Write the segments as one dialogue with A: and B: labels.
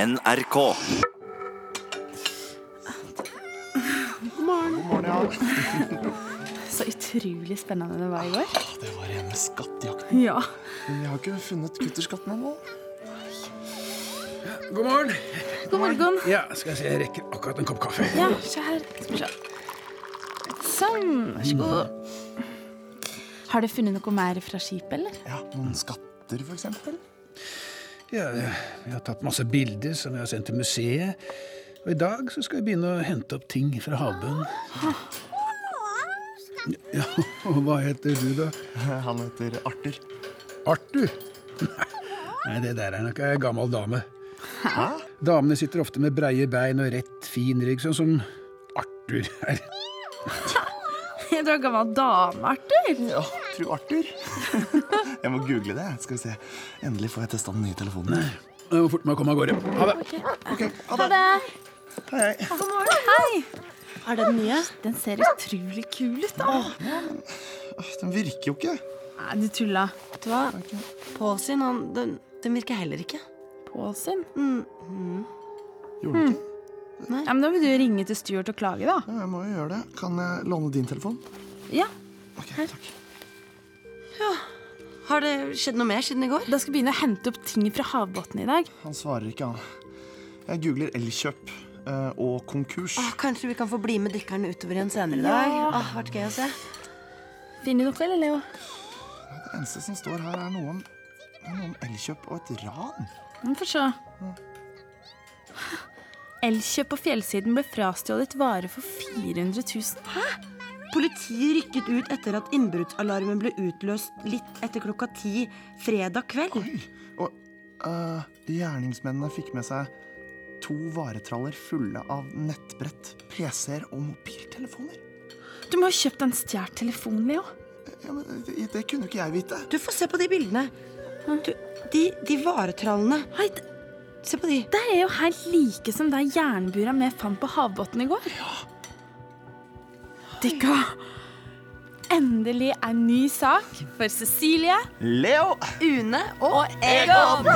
A: NRK.
B: Så utrolig spennende det var i går.
C: Ah,
D: Det var rene skattejakten.
B: Ja.
D: Men vi har ikke funnet kutterskatten ennå.
E: God morgen.
B: God morgen.
E: Ja, skal jeg se, jeg rekker akkurat en kopp kaffe.
B: Ja, se her. Skal vi se. Sånn. Vær så god. Har du funnet noe mer fra skipet, eller?
D: Ja, noen skatter, for eksempel.
E: Ja, vi har tatt masse bilder som vi har sendt til museet. Og i dag så skal vi begynne å hente opp ting fra havbunnen. Ja, og hva heter du, da?
D: Han heter Arthur.
E: Arthur? Nei, det der er nok ei gammel dame. Damene sitter ofte med breie bein og rett, fin rygg, sånn som Arthur er.
B: Du er gammel dame, Arthur.
D: Ja, fru Arthur. jeg må google det. Skal vi se. Endelig får jeg testa den nye telefonen.
E: Jeg må forte meg å komme av gårde. Ha det.
D: Ok, ha
B: Ha
D: det.
B: det.
D: Hei, hei.
B: God morgen. Hei. Er det den nye? Den ser utrolig kul ut, da.
D: Åh, Den virker jo ikke.
B: Nei, du tulla.
C: Vet du hva? Pål sin, han, den, den virker heller ikke. Mm,
B: Pål sin.
D: Gjorde den ikke?
B: Ja, men da vil du ringe til Stuart og klage, da.
D: Ja, jeg må jo gjøre det. Kan jeg låne din telefon?
B: Ja.
D: Ok, takk.
C: Har det skjedd noe mer siden i går?
B: Da skal jeg begynne å hente opp ting fra havbunnen i dag.
D: Han svarer ikke, han. Jeg googler Elkjøp eh, og konkurs.
C: Åh, kanskje vi kan få bli med dykkerne utover igjen senere i dag?
B: Ja.
C: Åh, vært gøy å se.
B: Finner du noe, eller, Leo?
D: Det eneste som står her, er noe om, noe om Elkjøp og et ran.
B: Vi får se. Elkjøp på fjellsiden ble frastjålet vare for 400 000.
C: Politiet rykket ut etter at innbruddsalarmen ble utløst litt etter klokka ti fredag kveld.
D: Og eh, gjerningsmennene fikk med seg to varetraller fulle av nettbrett, PC-er og mobiltelefoner.
B: Du må ha kjøpt en stjålet telefon, Leo.
D: Ja, men det, det kunne ikke jeg vite.
C: Du får se på de bildene. Du, de, de varetrallene.
B: Hei, d-
C: Se på de.
B: det er jo helt like som det jernbura vi fant på havbunnen i går. Ja. Dikka. Endelig en ny sak for Cecilie.
D: Leo!
C: Une og
B: Egon!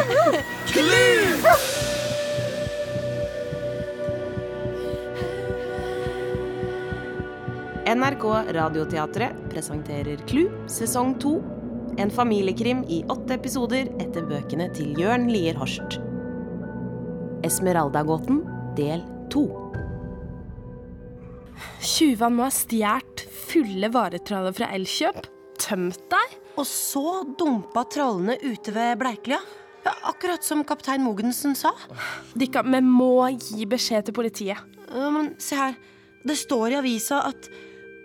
F: NRK Radioteatret presenterer Klu sesong 2. En familiekrim i åtte episoder etter bøkene til Jørn Lier Horst. Esmeraldagåten del 2.
B: Tjuvene må ha stjålet fulle varetraller fra Elkjøp. Tømt deg.
C: Og så dumpa trallene ute ved Bleiklia. Ja, akkurat som kaptein Mogensen sa.
B: Dikka, vi må gi beskjed til politiet.
C: Ja, men se her. Det står i avisa at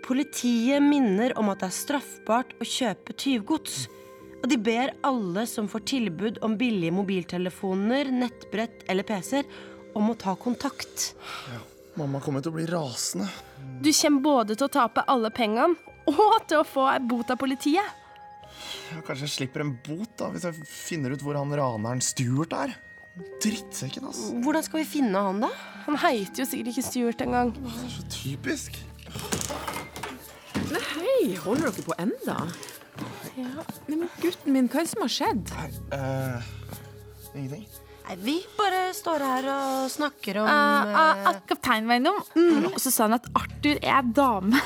C: politiet minner om at det er straffbart å kjøpe tyvgods. Og de ber alle som får tilbud om billige mobiltelefoner, nettbrett eller PC-er, om å ta kontakt.
D: Mamma kommer til å bli rasende.
B: Du kommer både til å tape alle pengene og til å få ei bot av politiet.
D: Ja, Kanskje jeg slipper en bot da, hvis jeg finner ut hvor han raneren Stuart er. Drittsekken, ass.
C: Hvordan skal vi finne han, da?
B: Han heter jo sikkert ikke Stuart engang.
D: Det er så typisk.
G: Hei, holder dere på enda? Nei, men gutten min, hva er det som har skjedd?
D: Nei, eh, ingenting.
C: Nei, vi bare står her og snakker om
B: Ah, kapteinen var innom, mm, og så sa han at Arthur er dame.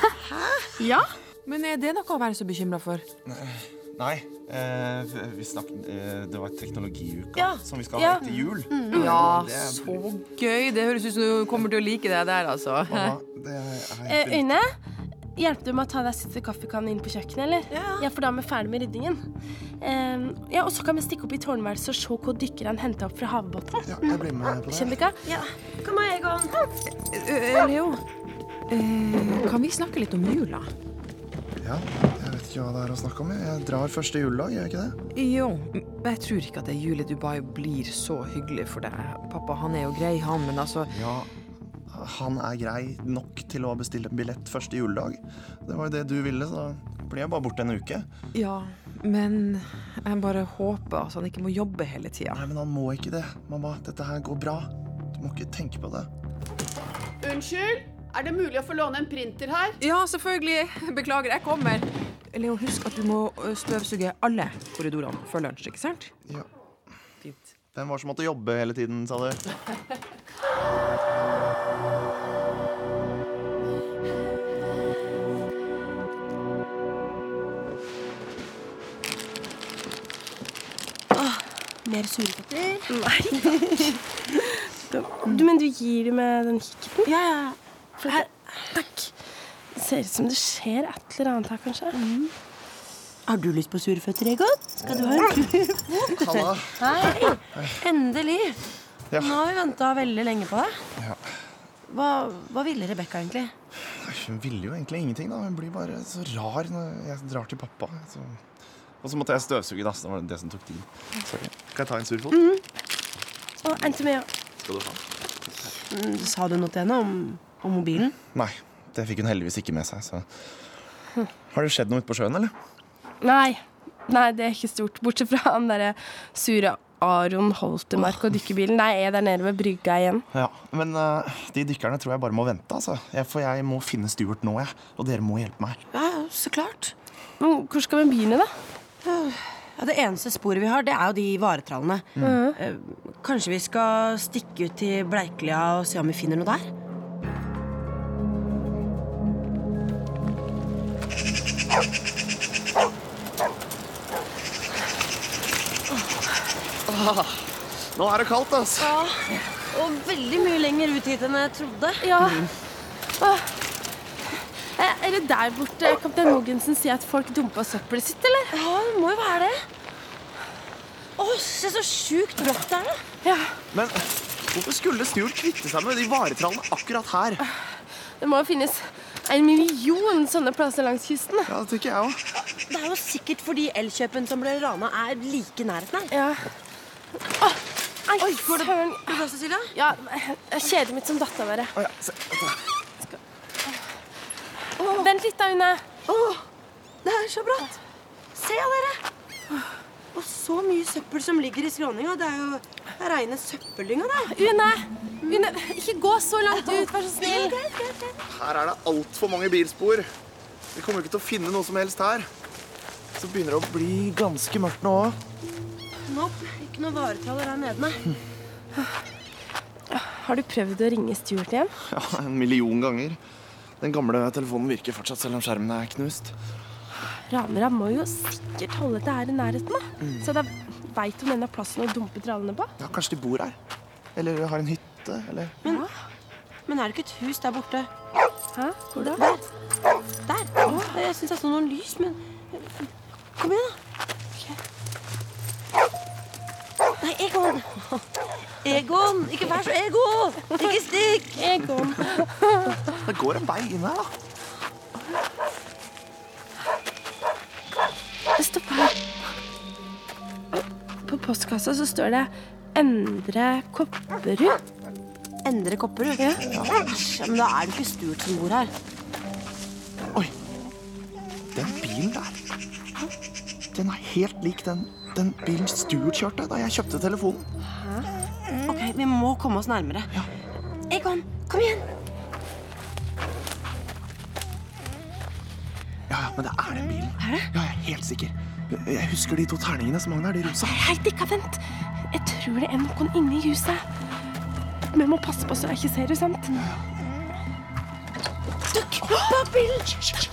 B: Ja,
G: Men er det noe å være så bekymra for?
D: Nei, eh, vi snakket, eh, det var teknologiuka
B: Ja,
D: som vi skal
B: ja. Mm.
D: ha etter jul.
G: Ja,
D: Det er-
G: så gøy. Det høres ut som du kommer til å like det der, altså.
D: Mamma, det er
B: Eh, Une, hjelper du med å ta deg siste kaffekannen inn på kjøkkenet, eller? Ja. for da er vi ferdig med ryddingen. Eh, ja, og så kan vi stikke opp i tårnværelset og se hva dykkerne henta opp fra havbunnen.
D: Ja, jeg blir med på det.
B: Kjenner dere?
C: Ja, Kom her, Egon.
G: Eh, Leo, eh, kan vi snakke litt om jula?
D: Ja, jeg vet ikke hva det er å snakke om. jeg. Jeg drar første juledag, gjør jeg ikke det?
G: Jo, men jeg tror ikke at det jul i Dubai blir så hyggelig for deg. Pappa han er jo grei, han, men altså
D: Ja, han er grei nok til å bestille en billett første juledag. Det var jo det du ville, så da blir jeg bare borte en uke.
G: Ja, men jeg bare håper at han ikke må jobbe hele tida.
D: Nei, men han må ikke det. Mamma, dette her går bra. Du må ikke tenke på det.
H: Unnskyld? Er det mulig å få låne en printer her?
G: Ja, selvfølgelig. Beklager, jeg kommer. Leo, husk at du må ø, støvsuge alle korridorene før lunsj, ikke sant?
D: Ja.
G: Fint.
D: Hvem var det som måtte jobbe hele tiden, sa du?
B: Mer surpetter? Nei takk. Du, men du gir med den kikkerten?
C: Ja, ja.
B: For her. Takk. Ser ut som det skjer et eller annet her, kanskje.
C: Mm. Har du lyst på surføtter, Egon? Skal du ha en tur?
D: Halla.
C: Hei. Endelig.
D: Ja.
C: Nå har vi venta veldig lenge på deg.
D: Ja.
C: Hva, hva ville Rebekka egentlig?
D: Hun ville jo egentlig ingenting, da. Hun blir bare så rar når jeg drar til pappa. Så... Og så måtte jeg støvsuge, da. Så det var det som tok Mhm. tid. Sorry. Skal jeg ta en surfot?
B: Og endte med å
D: Skal du ha?
C: Mm, Sa du noe til henne om, om mobilen?
D: Nei. Det fikk hun heldigvis ikke med seg, så Har det skjedd noe ute på sjøen, eller?
B: Nei. Nei, det er ikke stort. Bortsett fra han derre sure Aron Holtemark og dykkerbilen. Nei, jeg er der nede ved brygga igjen.
D: Ja, Men eh, de dykkerne tror jeg bare må vente, altså. Jeg, for jeg må finne Stuart nå, jeg. Og dere må hjelpe meg.
C: Ja, så klart.
B: Men hvor skal vi begynne, da?
C: Ja, det eneste sporet vi har, det er jo de varetrallene. Eh, Kanskje vi skal stikke ut til Bleiklia og se om vi finner noe der?
D: Nå er det kaldt, altså.
C: Og veldig mye lenger ut hit enn jeg trodde. Mm.
B: Ja. Åh. Eh, Er det der borte kaptein Mogensen sier at folk dumpa søppelet sitt, eller?
C: Ja, det må jo være det. Å, se så sjukt brått det er, da.
B: Ja.
D: Men hvorfor skulle Stuart kvitte seg med de varetrallene akkurat her?
B: Det må jo finnes en million sånne plasser langs kysten. da.
D: Ja, det tenker jeg òg.
C: Det er jo sikkert fordi Elkjøpen som ble rana, er like i nærheten her.
B: Ja. Åh, Oi,
C: går det-
B: søren.
C: Du da, Cecilia?
B: Ja, eh, kjedet mitt som datt av bare.
D: Å, ja. se-
B: Vent litt da, Une.
C: Det er så brått. Se, dere. Og så mye søppel som ligger i skråninga. Det er jo reine søppeldynga der.
B: Une! Une, ikke gå så langt ut, vær så snill.
D: Her er det altfor mange bilspor. Vi kommer jo ikke til å finne noe som helst her. Så begynner det å bli ganske mørkt nå òg.
C: Nope, ikke noe varetraller der nede, nei.
B: Har du prøvd å ringe Stuart igjen?
D: Ja, en million ganger. Den gamle telefonen virker fortsatt, selv om skjermen er knust.
B: Ranere må jo sikkert holde det her i nærheten, da.
C: Mm.
B: Så de veit om denne plassen å dumpe trallene på.
D: Ja, Kanskje de bor her? Eller har en hytte? Eller
C: Men er det ikke et hus der borte?
B: Hæ? Hvor da?
C: Der. Der. Jeg syns jeg så noen lys, men Kom igjen, da. Nei, Egon. Egon, ikke vær så ego! Ikke stikk!
B: Egon.
D: Det går en vei inn her, da.
B: Stopp her. På postkassa så står det 'Endre Kopperud'.
C: Endre Kopperud? Ja. Æsj, men da er det ikke Stuart som bor her.
D: Oi. Den bilen der. Den er helt lik den, den bilen Stuart kjørte da jeg kjøpte telefonen.
C: Ok, Vi må komme oss nærmere. Egon, kom igjen!
D: Ja, ja, men det er den bilen. Er det? Ja, jeg er helt sikker. Jeg husker de to terningene som hang der, de rosa.
B: Hei, dikka, vent. Jeg tror det er noen inne i huset. Vi må passe på så jeg ikke ser henne, sant? Dukk bak bilen!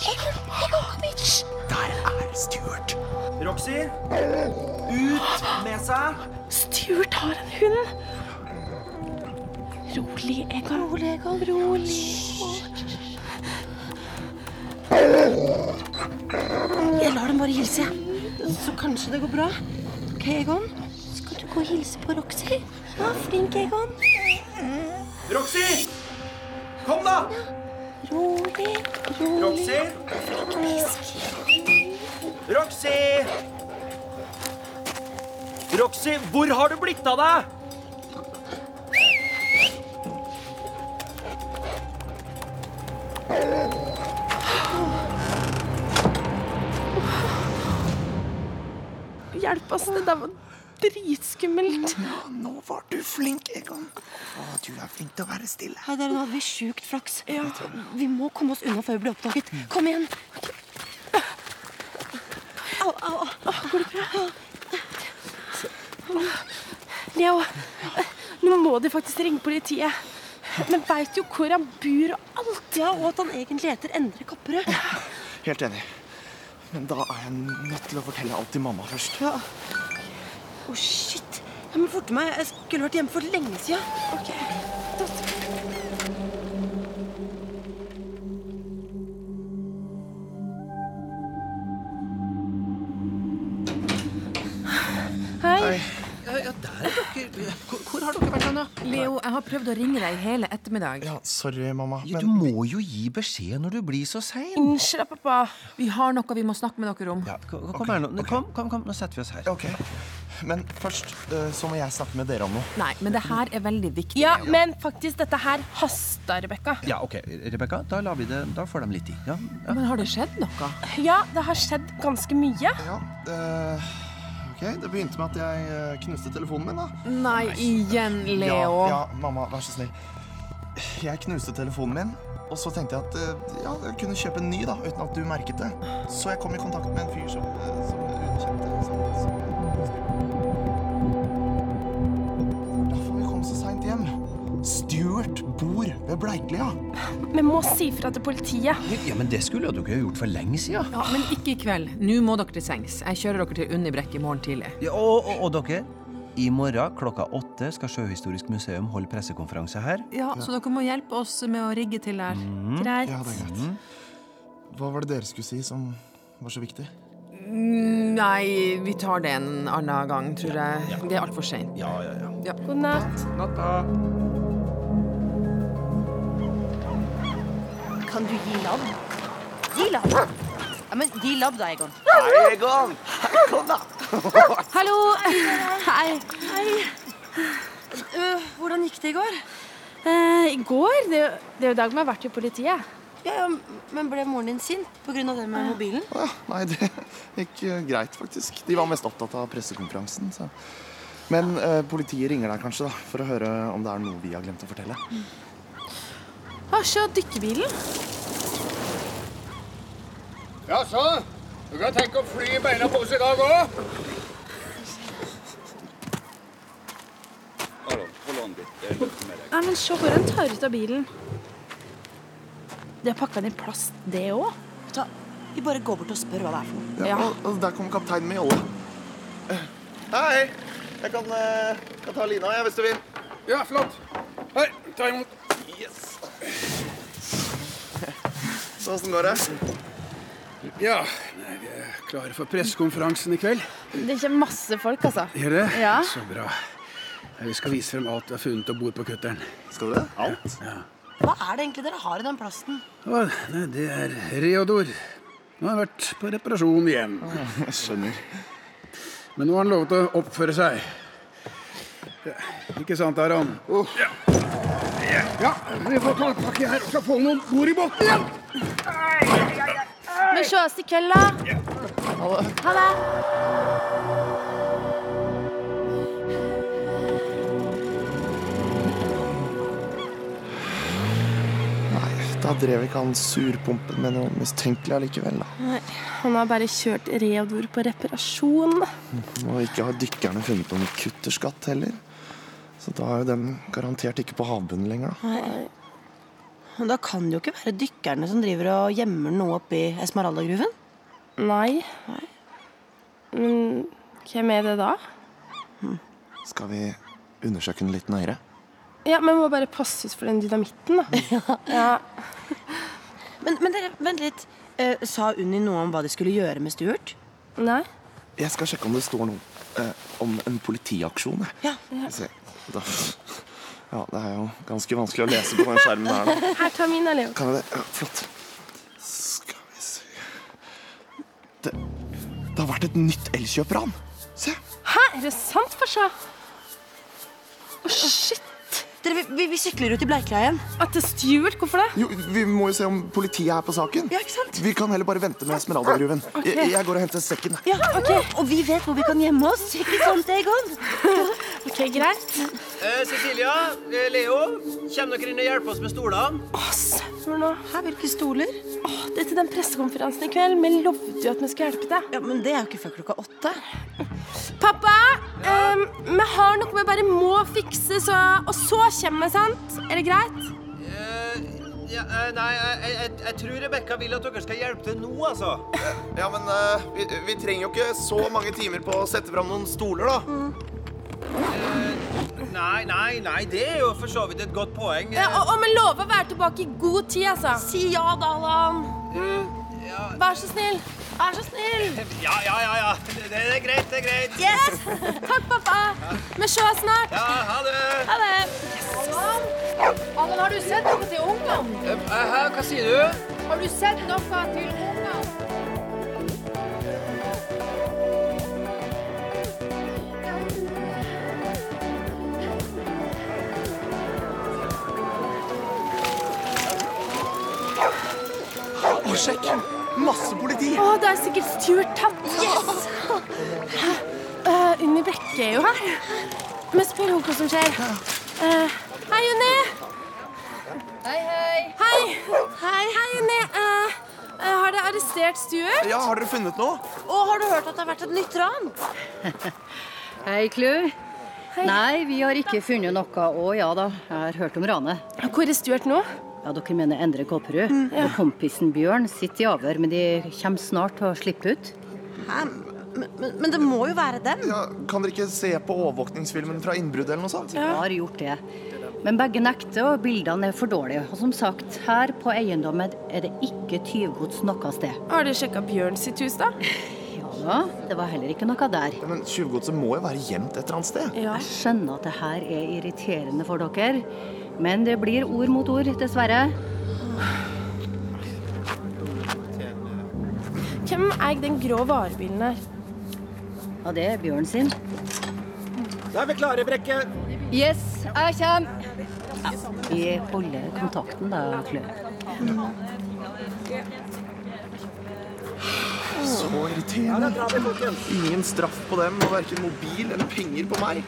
B: Egon, Egon, kom hit! Hysj.
D: Der er Stuart.
A: Roxy, ut med seg.
B: Stuart har en hund. Rolig, Egon. Rolig, Egon. Rolig.
C: Jeg lar dem bare hilse, jeg. Så kanskje det går bra. Ok, Egon? Skal du gå og hilse på Roxy? Ja, flink, Egon.
A: Roxy! Kom, da!
C: Rolig, rolig.
A: Roxy! Roxy! Roxy, hvor har du blitt av deg?
B: Hjelp oss, det der var dritskummelt.
D: Ja, nå var du flink, Egon. Å, du er flink til å være stille.
C: Hei, dere, Nå hadde vi sjukt flaks. Vi må komme oss unna før vi blir oppdaget. Kom igjen. Au, au, au. Går det bra?
B: jeg òg. Nå må de faktisk ringe politiet. Men veit jo hvor han bor og alt. Ja, og at han egentlig heter Endre Kopperød.
D: Helt enig. Men da er jeg nødt til å fortelle alt til mamma først.
B: Å, shit. Jeg må forte meg. Jeg skulle vært hjemme for lenge siden. Ok. Hei.
G: Leo, jeg har prøvd å ringe deg hele ettermiddag.
D: Ja, sorry, mamma.
I: Du
D: Men
I: må jo gi beskjed når du blir så sein.
C: Mm.
B: Unnskyld, pappa.
G: Vi har noe vi må snakke med dere om.
I: Ja, kom, kom, her nå. kom, kom, kom, nå setter vi oss her.
D: Ok. Men først eh, så må jeg snakke med dere om noe.
G: Nei, men det her er veldig viktig.
B: Ja,
G: Leo.
B: men faktisk, dette her haster, Rebekka.
I: Ja, ok, Rebekka, da, lar vi det, da får de litt tid. Ja, ja.
G: Men har det skjedd noe?
B: Ja, det har skjedd ganske mye.
D: Ja, eh, ok. Det begynte med at jeg eh, knuste telefonen min, da.
G: Nei, igjen, Leo.
D: Ja, ja, mamma, vær så snill. Jeg knuste telefonen min, og så tenkte jeg at eh, ja, jeg kunne kjøpe en ny da, uten at du merket det. Så jeg kom i kontakt med en fyr som, eh, som underkjente. Som, som... Derfor vi kom så sent hjem. Stuart bor ved Bleiklia.
B: Vi må si fra til politiet.
I: ja, men det skulle jo dere ha gjort for lenge siden.
G: Ja, men ikke i kveld. Nå må dere til sengs. Jeg kjører dere til Unnibrekk i morgen tidlig.
I: Ja, og, og, og dere, i morgen klokka åtte skal Sjøhistorisk museum holde pressekonferanse her.
G: Ja, Så dere må hjelpe oss med å rigge til der.
B: Greit.
D: Ja, det er greit. Hva var det dere skulle si som var så viktig?
G: Nei, vi tar det en annen gang, tror jeg. Det er altfor seint.
I: Ja, ja, ja.
B: God natt.
C: Kan du gi labb? Gi labb! Ja, men gi labb da, Egon.
D: Hei, Egon! Hei, kom da!
C: Hallo! Hei. Øh, hvordan gikk det i går?
B: Eh, I går Det er jo- det er jo dag vi har vært i politiet.
C: Ja, ja, men ble moren din sint pga. det med mobilen?
D: Å ja, nei, det gikk eh, greit, faktisk. De var mest opptatt av pressekonferansen. Så. Men eh, politiet ringer deg kanskje da, for å høre om det er noe vi har glemt å fortelle.
B: Ah, se dykkerbilen.
J: Ja, så? Du kan tenke å fly i beina på oss i dag òg?
B: Nei, men Se hvor han tar ut av bilen. De har pakka den i plast, det òg.
C: Ta, vi bare går bort og spør hva det er for noe.
D: Ja,
B: Ja.
D: Og, og der kom kapteinen med jolle. Eh, Hei! Jeg kan, eh, kan ta lina, jeg, hvis du vil.
J: Ja, flott. Hei, ta imot.
D: Så åssen går det?
E: Ja, nei, vi er klare for pressekonferansen i kveld.
B: Det kommer masse folk, altså.
E: Gjør det?
B: Ja.
E: Så bra. Nei, Vi skal vise frem alt vi har funnet om bord på kutteren.
D: Skal du det? Alt?
C: Hva er det egentlig dere har i den plasten?
E: Å, nei, det er Reodor. Han har vært på reparasjon igjen.
D: Jeg skjønner.
E: Men nå har han lovet å oppføre seg. Ikke sant, Aron? Ja. ja, vi får ta tak i her og så få noen bord i båten igjen.
B: Vi ses i kveld, da. Ha det.
D: Nei, da drev ikke han surpumpen med noe mistenkelig allikevel, da.
B: Nei, han har bare kjørt Reodor på reparasjon.
D: Og ikke har dykkerne funnet noen kutterskatt heller. Så da er jo den garantert ikke på havbunnen lenger, da.
C: Da kan det jo ikke være dykkerne som driver og gjemmer noe oppi Esmeralda-gruven.
B: Nei. Men hvem er det da?
D: Skal vi undersøke den litt nøyere?
B: Ja, men må bare passe ut for den dynamitten, da. Ja.
C: Men, men dere, vent litt. Eh, sa Unni noe om hva de skulle gjøre med Stuart?
B: Nei.
D: Jeg skal sjekke om det står noe eh, om en politiaksjon. jeg.
C: Ja.
D: Se, da. Ja, det er jo ganske vanskelig å lese på den skjermen her nå.
B: Her, ta min, da, Leo.
D: Kan jeg det? Ja, flott. Skal vi se Det, det har vært et nytt elkjøpran. Se.
B: Hæ, er det sant, farsa? Å, shit.
C: Dere, vi, vi, vi sykler ut i Bleiklia igjen.
B: At det er Stuart, hvorfor det?
D: Jo, vi må jo se om politiet er på saken.
C: Ja, ikke sant?
D: Vi kan heller bare vente med Esmeralda-gruven. Jeg, jeg går og henter sekken.
C: Ja, ok. Og vi vet hvor vi kan gjemme oss. Ikke sånn sant, Egon?
B: Ok, greit.
A: Eh, Cecilia, eh, Leo, kommer dere inn og hjelper oss med stolene?
B: Hør nå.
C: Her, hvilke stoler?
B: Åh, det er til den pressekonferansen i kveld. Vi lovte jo at vi skulle hjelpe deg.
C: Ja, Men det er jo ikke før klokka åtte.
B: Pappa! Ehm, vi har noe vi bare må fikse, så Og så kommer vi, sant? Er det greit?
A: Ja, eh, nei, jeg, jeg- jeg, jeg tror Rebekka vil at dere skal hjelpe til nå, altså.
D: Ja, men eh, vi, vi trenger jo ikke så mange timer på å sette fram noen stoler, da.
A: Mm. Eh, Nei, nei, nei, det er jo for så vidt et godt poeng.
B: Ja, og, og vi lover å være tilbake i god tid, altså. Si ja, Dalan. Vær så snill. Vær så snill.
A: Ja, ja, ja, ja. Det, det er greit, det er greit.
B: Yes! Takk, pappa. Vi ses snart.
A: Ja, ha det.
B: Ha det.
H: Allan, har du sett noe til ungene?
A: Eh, Hæ, hva sier du?
H: Har du sett noe til ungene?
D: Å, sjekk! Masse politi!
B: Å, det er sikkert Stuart tatt. Yes! Eh, Unni Brekke er jo her. Vi spør henne hva som skjer. Eh, hei, Unni.
H: Hei, hei.
B: Hei. Hei, Unni. Eh, eh, har dere arrestert Stuart?
D: Ja, har dere funnet noe?
B: Og har du hørt at det har vært et nytt ran?
K: Hei, Klu. Nei, vi har ikke funnet noe. Å ja da, jeg har hørt om ranet.
B: Hvor er Stuart nå?
K: Ja, Dere mener Endre Kåperud.
B: Mm,
K: Og kompisen Bjørn sitter i avhør, men de kommer snart til å slippe ut.
C: Hæ? Men, men, men det må jo være dem.
D: Ja, Kan dere ikke se på overvåkningsfilmen fra innbruddet eller noe sånt?
K: Jeg har gjort det. Men begge nekter, og bildene er for dårlige. Og som sagt, her på eiendommen er det ikke tyvgods noe sted.
B: Har du sjekka Bjørn sitt hus, da?
K: Ja da, det var heller ikke noe der.
D: Men tjuvgodset må jo være gjemt et eller annet sted?
K: Jeg skjønner at det her er irriterende for dere, men det blir ord mot ord, dessverre.
B: Hvem eier den grå varebilen her?
K: Ja, det er Bjørn sin.
A: Da er vi klare, Brekke.
K: Yes, jeg kommer. Vi holder kontakten da, Klø.
D: Så irriterende. Ingen straff på dem, og verken mobil eller penger på meg.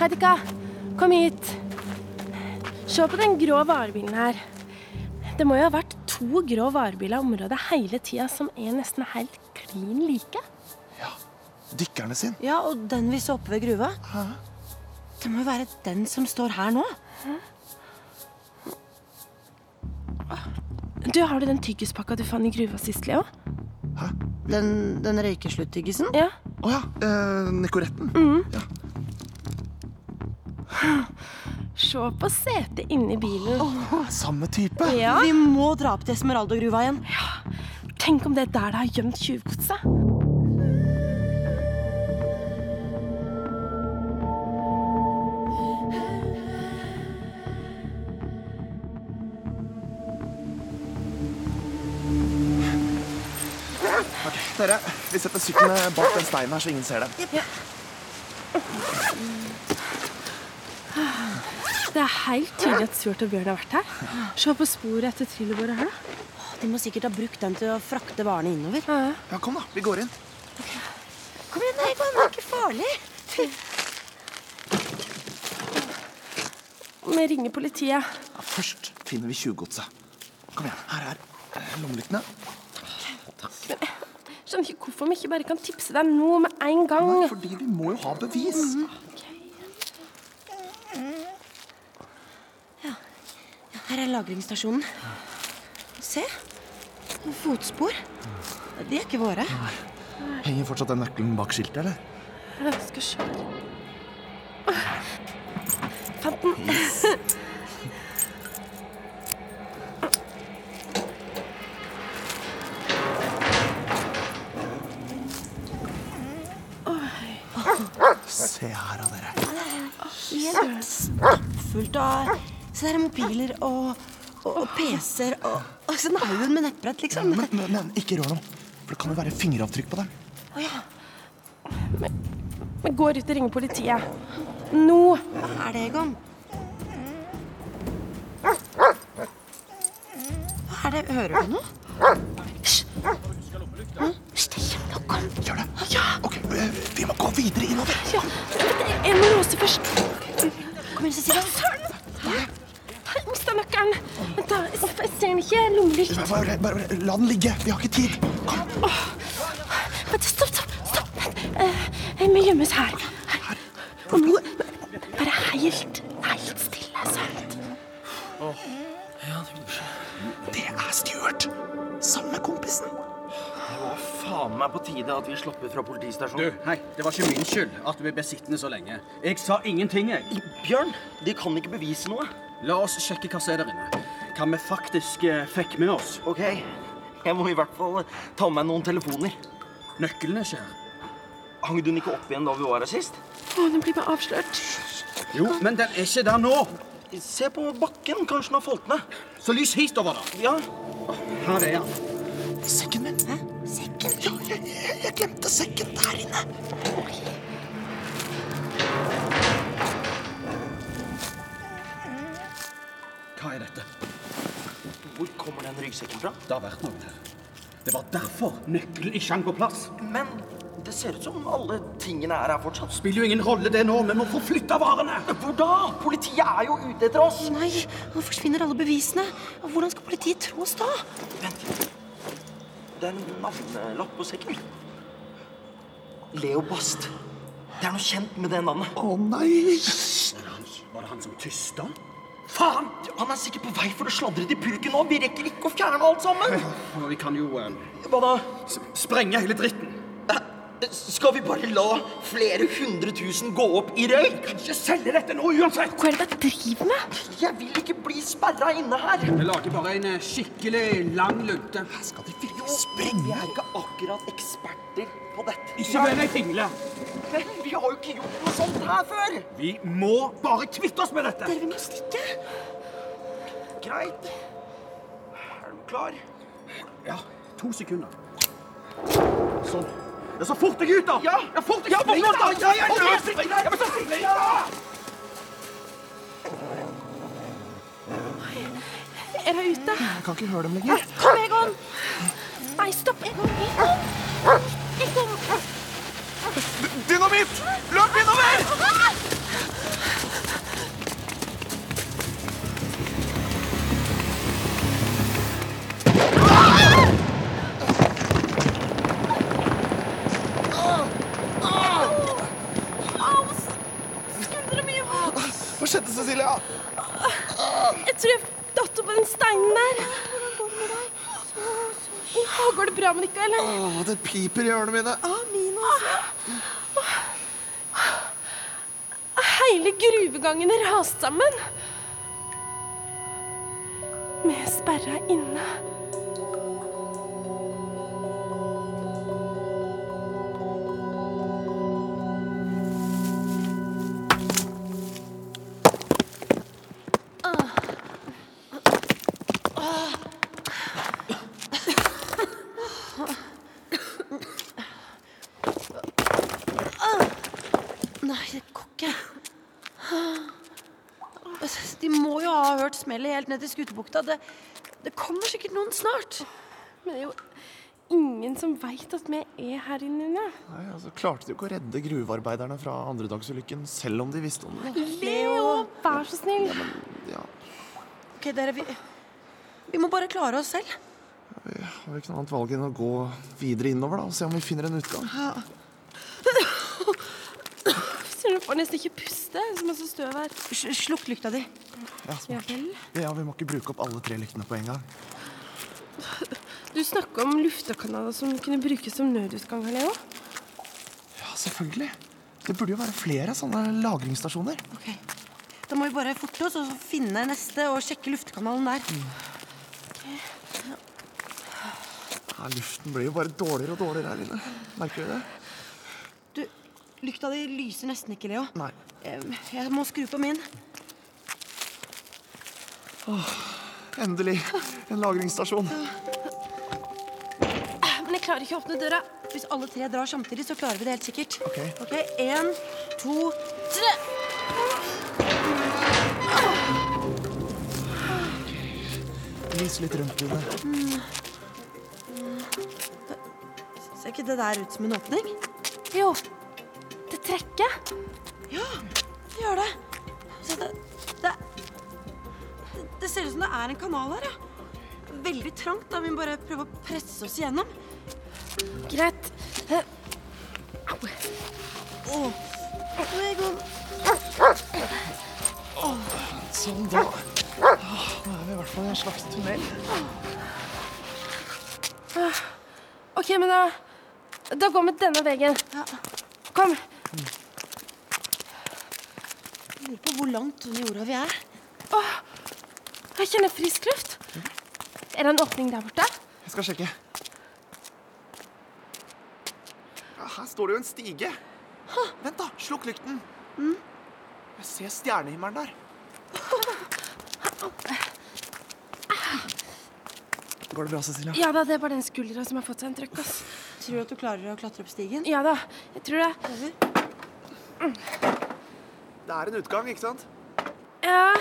B: Heidika, kom hit. Se på den grå varebilen her. Det må jo ha vært to grå varebiler i området hele tida som er nesten helt klin like.
D: Dykkerne sin.
C: Ja, og den vi så oppe ved gruva. Det må jo være den som står her nå.
B: Du, Har du den tyggispakka du fant i gruva sist, Leo?
C: Den, den røykeslutt-tyggisen?
B: Ja.
D: Å ja. Eh, Nekoretten. Ja.
B: Se på setet inni bilen.
D: Samme type.
B: Ja.
C: Vi må dra opp til Esmeralda-gruva igjen.
B: Tenk om det er der det har gjemt tjuvgodset.
D: Ok, Dere, vi setter sykkelen bak den steinen her, så ingen ser dem.
B: Det er helt tydelig at Surt og Bjørn har vært her. Se på sporet etter trillebordet her, da.
C: De må sikkert ha brukt den til å frakte varene innover.
D: Ja, kom da. Vi går inn.
C: Kom igjen, Eigo, det er ikke farlig.
B: Vi ringer politiet.
D: Ja, først finner vi tjuvgodset. Kom igjen. Her er eh, lommelyktene.
B: Skjønner ikke hvorfor vi ikke bare kan tipse deg nå med en gang.
D: Nei, fordi vi må jo ha bevis.
C: Mhm. Her er lagringsstasjonen. Se. Fotspor. De er ikke våre.
D: Henger fortsatt den nøkkelen bak skiltet, eller?
B: Jeg skal se Fant den.
D: Se her, da, dere.
C: Helt stappfullt av Se der er mobiler og, og, og PC-er og, og sånn haugen med nettbrett, liksom.
D: Men, men, men ikke rør noe. For det kan jo være fingeravtrykk på dem.
B: Vi går ut og ringer politiet. Nå.
C: Hva er det, Egon? Hva er det? Hører du noe?
D: Gjør det. Ok, eh, vi må gå videre innover.
B: Ja, jeg må låse først.
C: Kom igjen, Cecilia.
B: Jeg mista nøkkelen. Vent, da. Jeg ser- Jeg ser den ikke. Lommelykt.
D: Bare, bare, bare la den ligge. Vi har ikke tid.
B: Vent, Stopp, stopp. Jeg må gjemmes her. her. Og nå Bare helt, helt stille, altså. sant?
D: Det er Stuart! Sammen med kompisen.
L: Det var faen meg på tide at vi slapp ut fra politistasjonen.
M: Hei, det var ikke min skyld at du ble besittende så lenge. Jeg sa ingenting, jeg. Bjørn, de kan ikke bevise noe. La oss sjekke hva som er der inne. Hva vi faktisk eh, fikk med oss. OK. Jeg må i hvert fall eh, ta med noen telefoner. Nøklene, skjer. Hang du den ikke opp igjen da vi var her sist?
B: Å, den blir bare avslørt.
M: Jo, men den er ikke der nå. Se på bakken. Kanskje den har falt ned. Så lys hit over, da. Ja. Her er han.
D: Sekken min. Sekken? Ja, jeg, jeg, jeg glemte sekken der inne.
M: Hva er dette? Hvor kommer den ryggsekken fra? Det har vært noen her. Det var derfor nøkkelen ikke hang på plass. Men det ser ut som alle tingene er her fortsatt. Spiller jo ingen rolle det nå. Vi må få flytta varene. Hvor da? Politiet er jo ute etter oss.
C: Nei, nå forsvinner alle bevisene. Hvordan skal politiet tro oss da?
M: Det er en navnelapp på sekken. Leo Bast. Det er noe kjent med det navnet. Å nei! Var det han som tysta? Faen! Han er sikkert på vei for å sladre til purken nå. Vi rekker ikke å fjerne alt sammen. Vi kan jo Hva da? Sprenge hele dritten. Skal vi bare la flere hundre tusen gå opp i røyk? Vi kan ikke selge dette nå uansett.
B: Hva er det dere driver med?
M: Jeg vil ikke bli sperra inne her.
N: Vi lager bare en eh, skikkelig lang lunte. Skal de virkelig
M: Sprenge? Vi er ikke akkurat eksperter på dette.
N: Ikke vær deg pingle.
M: Men Vi har jo ikke gjort noe sånt her før.
N: Vi må bare kvitte oss med dette.
M: Dere, vi må stikke. Greit. Er du klar?
N: Ja, to sekunder. Sånn. Ja, så fort deg ut, da! Ja, fort deg
M: Spring,
N: ut, da!
M: da! Ja, ja, ja,
N: Kom igjen,
M: spring,
N: spring,
M: da!
N: ja, men så spring, da!
B: Er dere ute?
D: Jeg kan ikke høre dem lenger.
B: Kom, Egon! Nei, stopp, Egon. Egon! Egon!
D: Dynamitt! Løp innover!
B: Au, skuldre mye vondt.
D: Hva skjedde, Cecilia?
B: Jeg tror jeg datt opp på den steinen der. Ja, går det bra med dere, eller?
D: Åh, det piper i ørene mine.
B: Hele gruvegangen er rast sammen. Med sperra inne.
C: Nei, det går ikke. De må jo ha hørt smellet helt ned til Skutebukta. Det, det kommer sikkert noen snart.
B: Men det er jo ingen som veit at vi er her inne.
D: Nei, altså, Klarte de jo ikke å redde gruvearbeiderne fra andredagsulykken selv om de visste om det?
B: Leo, vær så snill.
D: Ja,
C: Ok, dere, vi, vi må bare klare oss selv.
D: Har vi ikke noe annet valg enn å gå videre innover da, og se om vi finner en utgang?
B: Ser du får nesten ikke puste. Det er så masse støv her.
C: Slukk lykta di.
D: Ja,
B: Ja vel.
D: ja, Vi må ikke bruke opp alle tre lyktene på en gang.
B: Du snakka om luftekanaler som kunne brukes som nødutgang, Leo.
D: Ja, selvfølgelig. Det burde jo være flere sånne lagringsstasjoner.
C: Da må vi bare forte oss og finne neste og sjekke luftkanalen der.
D: Ja, Luften blir jo bare dårligere og dårligere her inne. Merker dere det?
C: Du, lykta di lyser nesten ikke, Leo.
D: Nei.
C: Eh, Jeg må skru på min.
D: Åh, endelig en lagringsstasjon.
C: Men jeg klarer ikke å åpne døra. Hvis alle tre drar samtidig, så klarer vi det helt sikkert.
D: Ok.
C: Ok, En, to, tre.
D: Lys litt rundt i det.
C: Mm. Ser ikke det der ut som en åpning?
B: Jo, det trekket.
C: Ja, det gjør det. Se, det, det, det ser ut som det er en kanal her, ja. Veldig trangt. da. Vi må bare prøve å presse oss igjennom.
B: Greit. Eh, Au.
O: Åh. Egon.
D: Sånn, da. Da er vi i hvert fall i en slags tunnel.
B: Ah, OK, men da Da går vi denne veien. Kom.
O: Jeg lurer på hvor langt under jorda vi er.
B: Åh, jeg kjenner frisk luft. Er det en åpning der borte?
D: Jeg skal sjekke. Ja, Her står det jo en stige. Vent, da. Slukk lykten. Jeg ser stjernehimmelen der. Går det bra, Cecilia?
B: Ja da, det er bare den skuldra som har fått seg en trøkk. ass.
C: Tror du at du klarer å klatre opp stigen?
B: Ja da, jeg tror det.
D: Det er en utgang, ikke sant?
B: Ja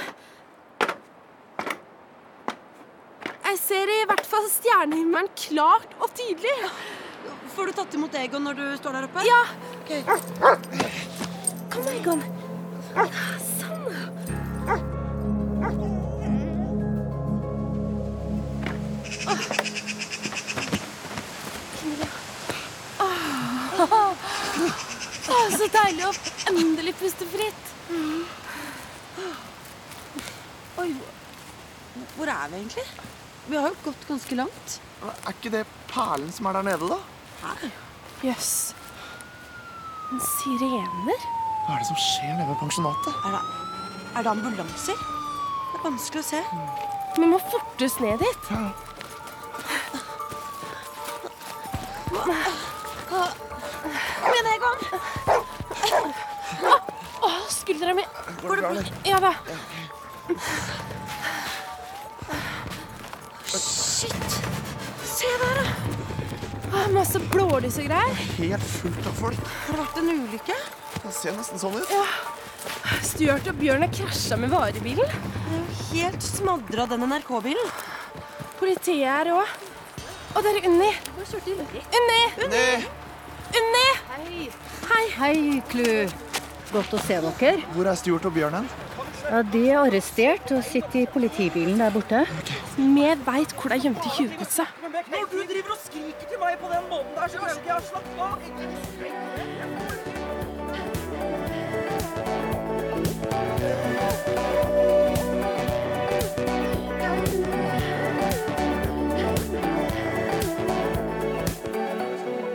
B: Jeg ser i hvert fall stjernehimmelen klart og tydelig.
C: Får du tatt imot Egon når du står der oppe?
B: Ja.
C: Ok.
B: Kom, Egon. Sånn. Åh. Åh, så deilig å endelig puste fritt.
C: Oi, hvor er vi egentlig? Vi har jo gått ganske langt.
D: Er ikke det perlen som er der nede, da?
B: Jøss. En sirener?
D: Hva er det som skjer nede ved pensjonatet?
C: Er det, er det ambulanser? Det er vanskelig å se.
B: Vi må fortest ned dit.
O: Kom igjen, Egon.
B: Åh, skuldra mi
O: Går det bra, eller?
B: Ja da.
O: Shit. Se der, da.
B: Åh, masse blålys og greier.
D: Helt fullt av folk.
B: Har det vært en ulykke?
D: Det ser nesten sånn ut.
B: Ja. Stuart og Bjørn har krasja med varebilen.
C: Helt smadra den NRK-bilen.
B: Politiet er her òg. Og der er Unni. Unni! Unni! Unni! Hei. Hei.
K: Hei, Klu. Godt å se dere.
D: Hvor er Stuart og Bjørn hen?
K: Ja, de er arrestert og sitter i politibilen der borte.
B: Vi veit hvor de gjemte tjuvgodset.
L: Når du driver og skriker til meg på den måten der, så klarer ikke jeg å slappe av.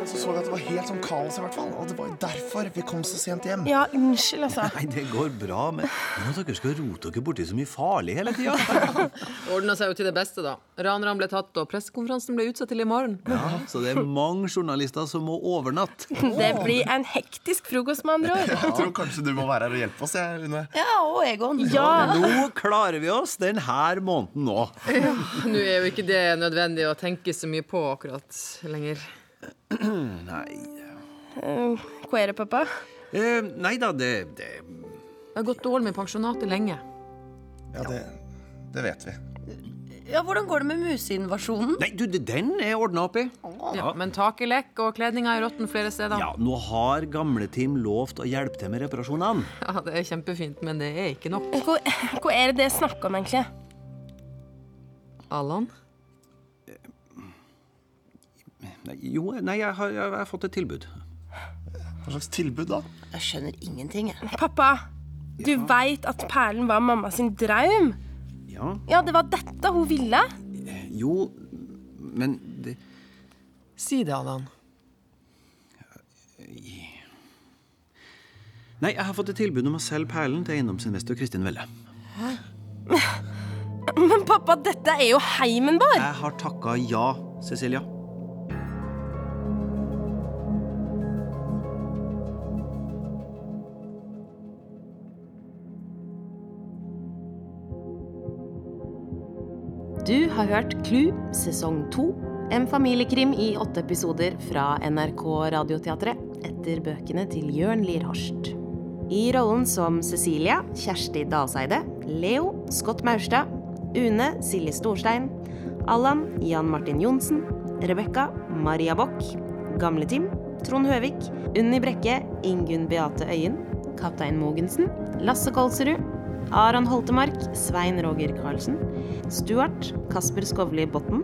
D: Så så vi at det var helt sånn kaos, i hvert fall. Og det var jo derfor vi kom så sent hjem.
B: Ja, unnskyld, altså.
I: Nei, det går bra, men men at dere skal rote dere borti så mye farlig hele tida.
P: Ordna seg jo til det beste, da. Ranerne ble tatt, og pressekonferansen ble utsatt til i morgen.
I: Ja, så det er mange journalister som må overnatte.
B: Det blir en hektisk frokost, med andre ord.
D: Jeg tror kanskje du må være her og hjelpe oss, jeg, Une.
B: Ja, og Egon.
I: Nå klarer vi oss denne måneden nå.
P: Nå er jo ikke det nødvendig å tenke så mye på akkurat lenger.
I: Nei
B: Hva er det, pappa?
I: eh, Nei da, det, det
P: Det har gått dårlig med pensjonatet lenge.
D: Ja, det, det vet vi.
C: Ja, Hvordan går det med museinvasjonen?
I: Nei, du, Den er ordna opp i.
P: Ja, men taket lekk, og kledninga er råtten flere steder.
I: Ja, Nå har gamle-Tim lovt å hjelpe til med reparasjonene.
P: Ja, det er kjempefint, men det er ikke nok.
B: Hva, hva er det det er snakk om, egentlig?
P: Allan?
I: Nei, Jo, nei, jeg har, jeg har fått et tilbud.
D: Hva slags tilbud, da?
C: Jeg skjønner ingenting. jeg.
B: Pappa, du veit at perlen var mamma sin draum?
I: Ja,
B: Ja, det var dette hun ville.
I: jo, men det
P: Si det, Allan.
I: Nei, jeg har fått et tilbud om å selge perlen til eiendomsinvestor Kristin Velle.
B: Men pappa, dette er jo heimen vår!
I: Jeg har takka ja, Cecilia.
F: Du har hørt Klu sesong to, en familiekrim i åtte episoder fra NRK Radioteatret etter bøkene til Jørn Lier Horst. I rollen som Cecilia, Kjersti Dalseide, Leo, Scott Maurstad, Une, Silje Storstein, Allan, Jan Martin Johnsen, Rebekka, Maria Bock, Gamle-Tim, Trond Høvik, Unni Brekke, Ingunn Beate Øyen, Kaptein Mogensen, Lasse Kolsrud, Aron Holtemark, Svein Roger Karlsen, Stuart, Kasper Skovli Botten,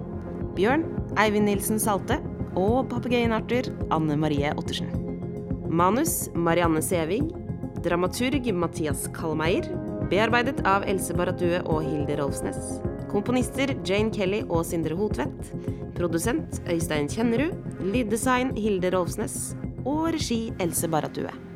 F: Bjørn, Eivind Nilsen Salte og papegøyen Arthur, Anne Marie Ottersen. Manus Marianne Sevig. Dramaturg Mathias Kallmeier. Bearbeidet av Else Barratue og Hilde Rolfsnes. Komponister Jane Kelly og Sindre Hotvedt. Produsent Øystein Kjennerud. Lyddesign Hilde Rolfsnes. Og regi Else Barratue.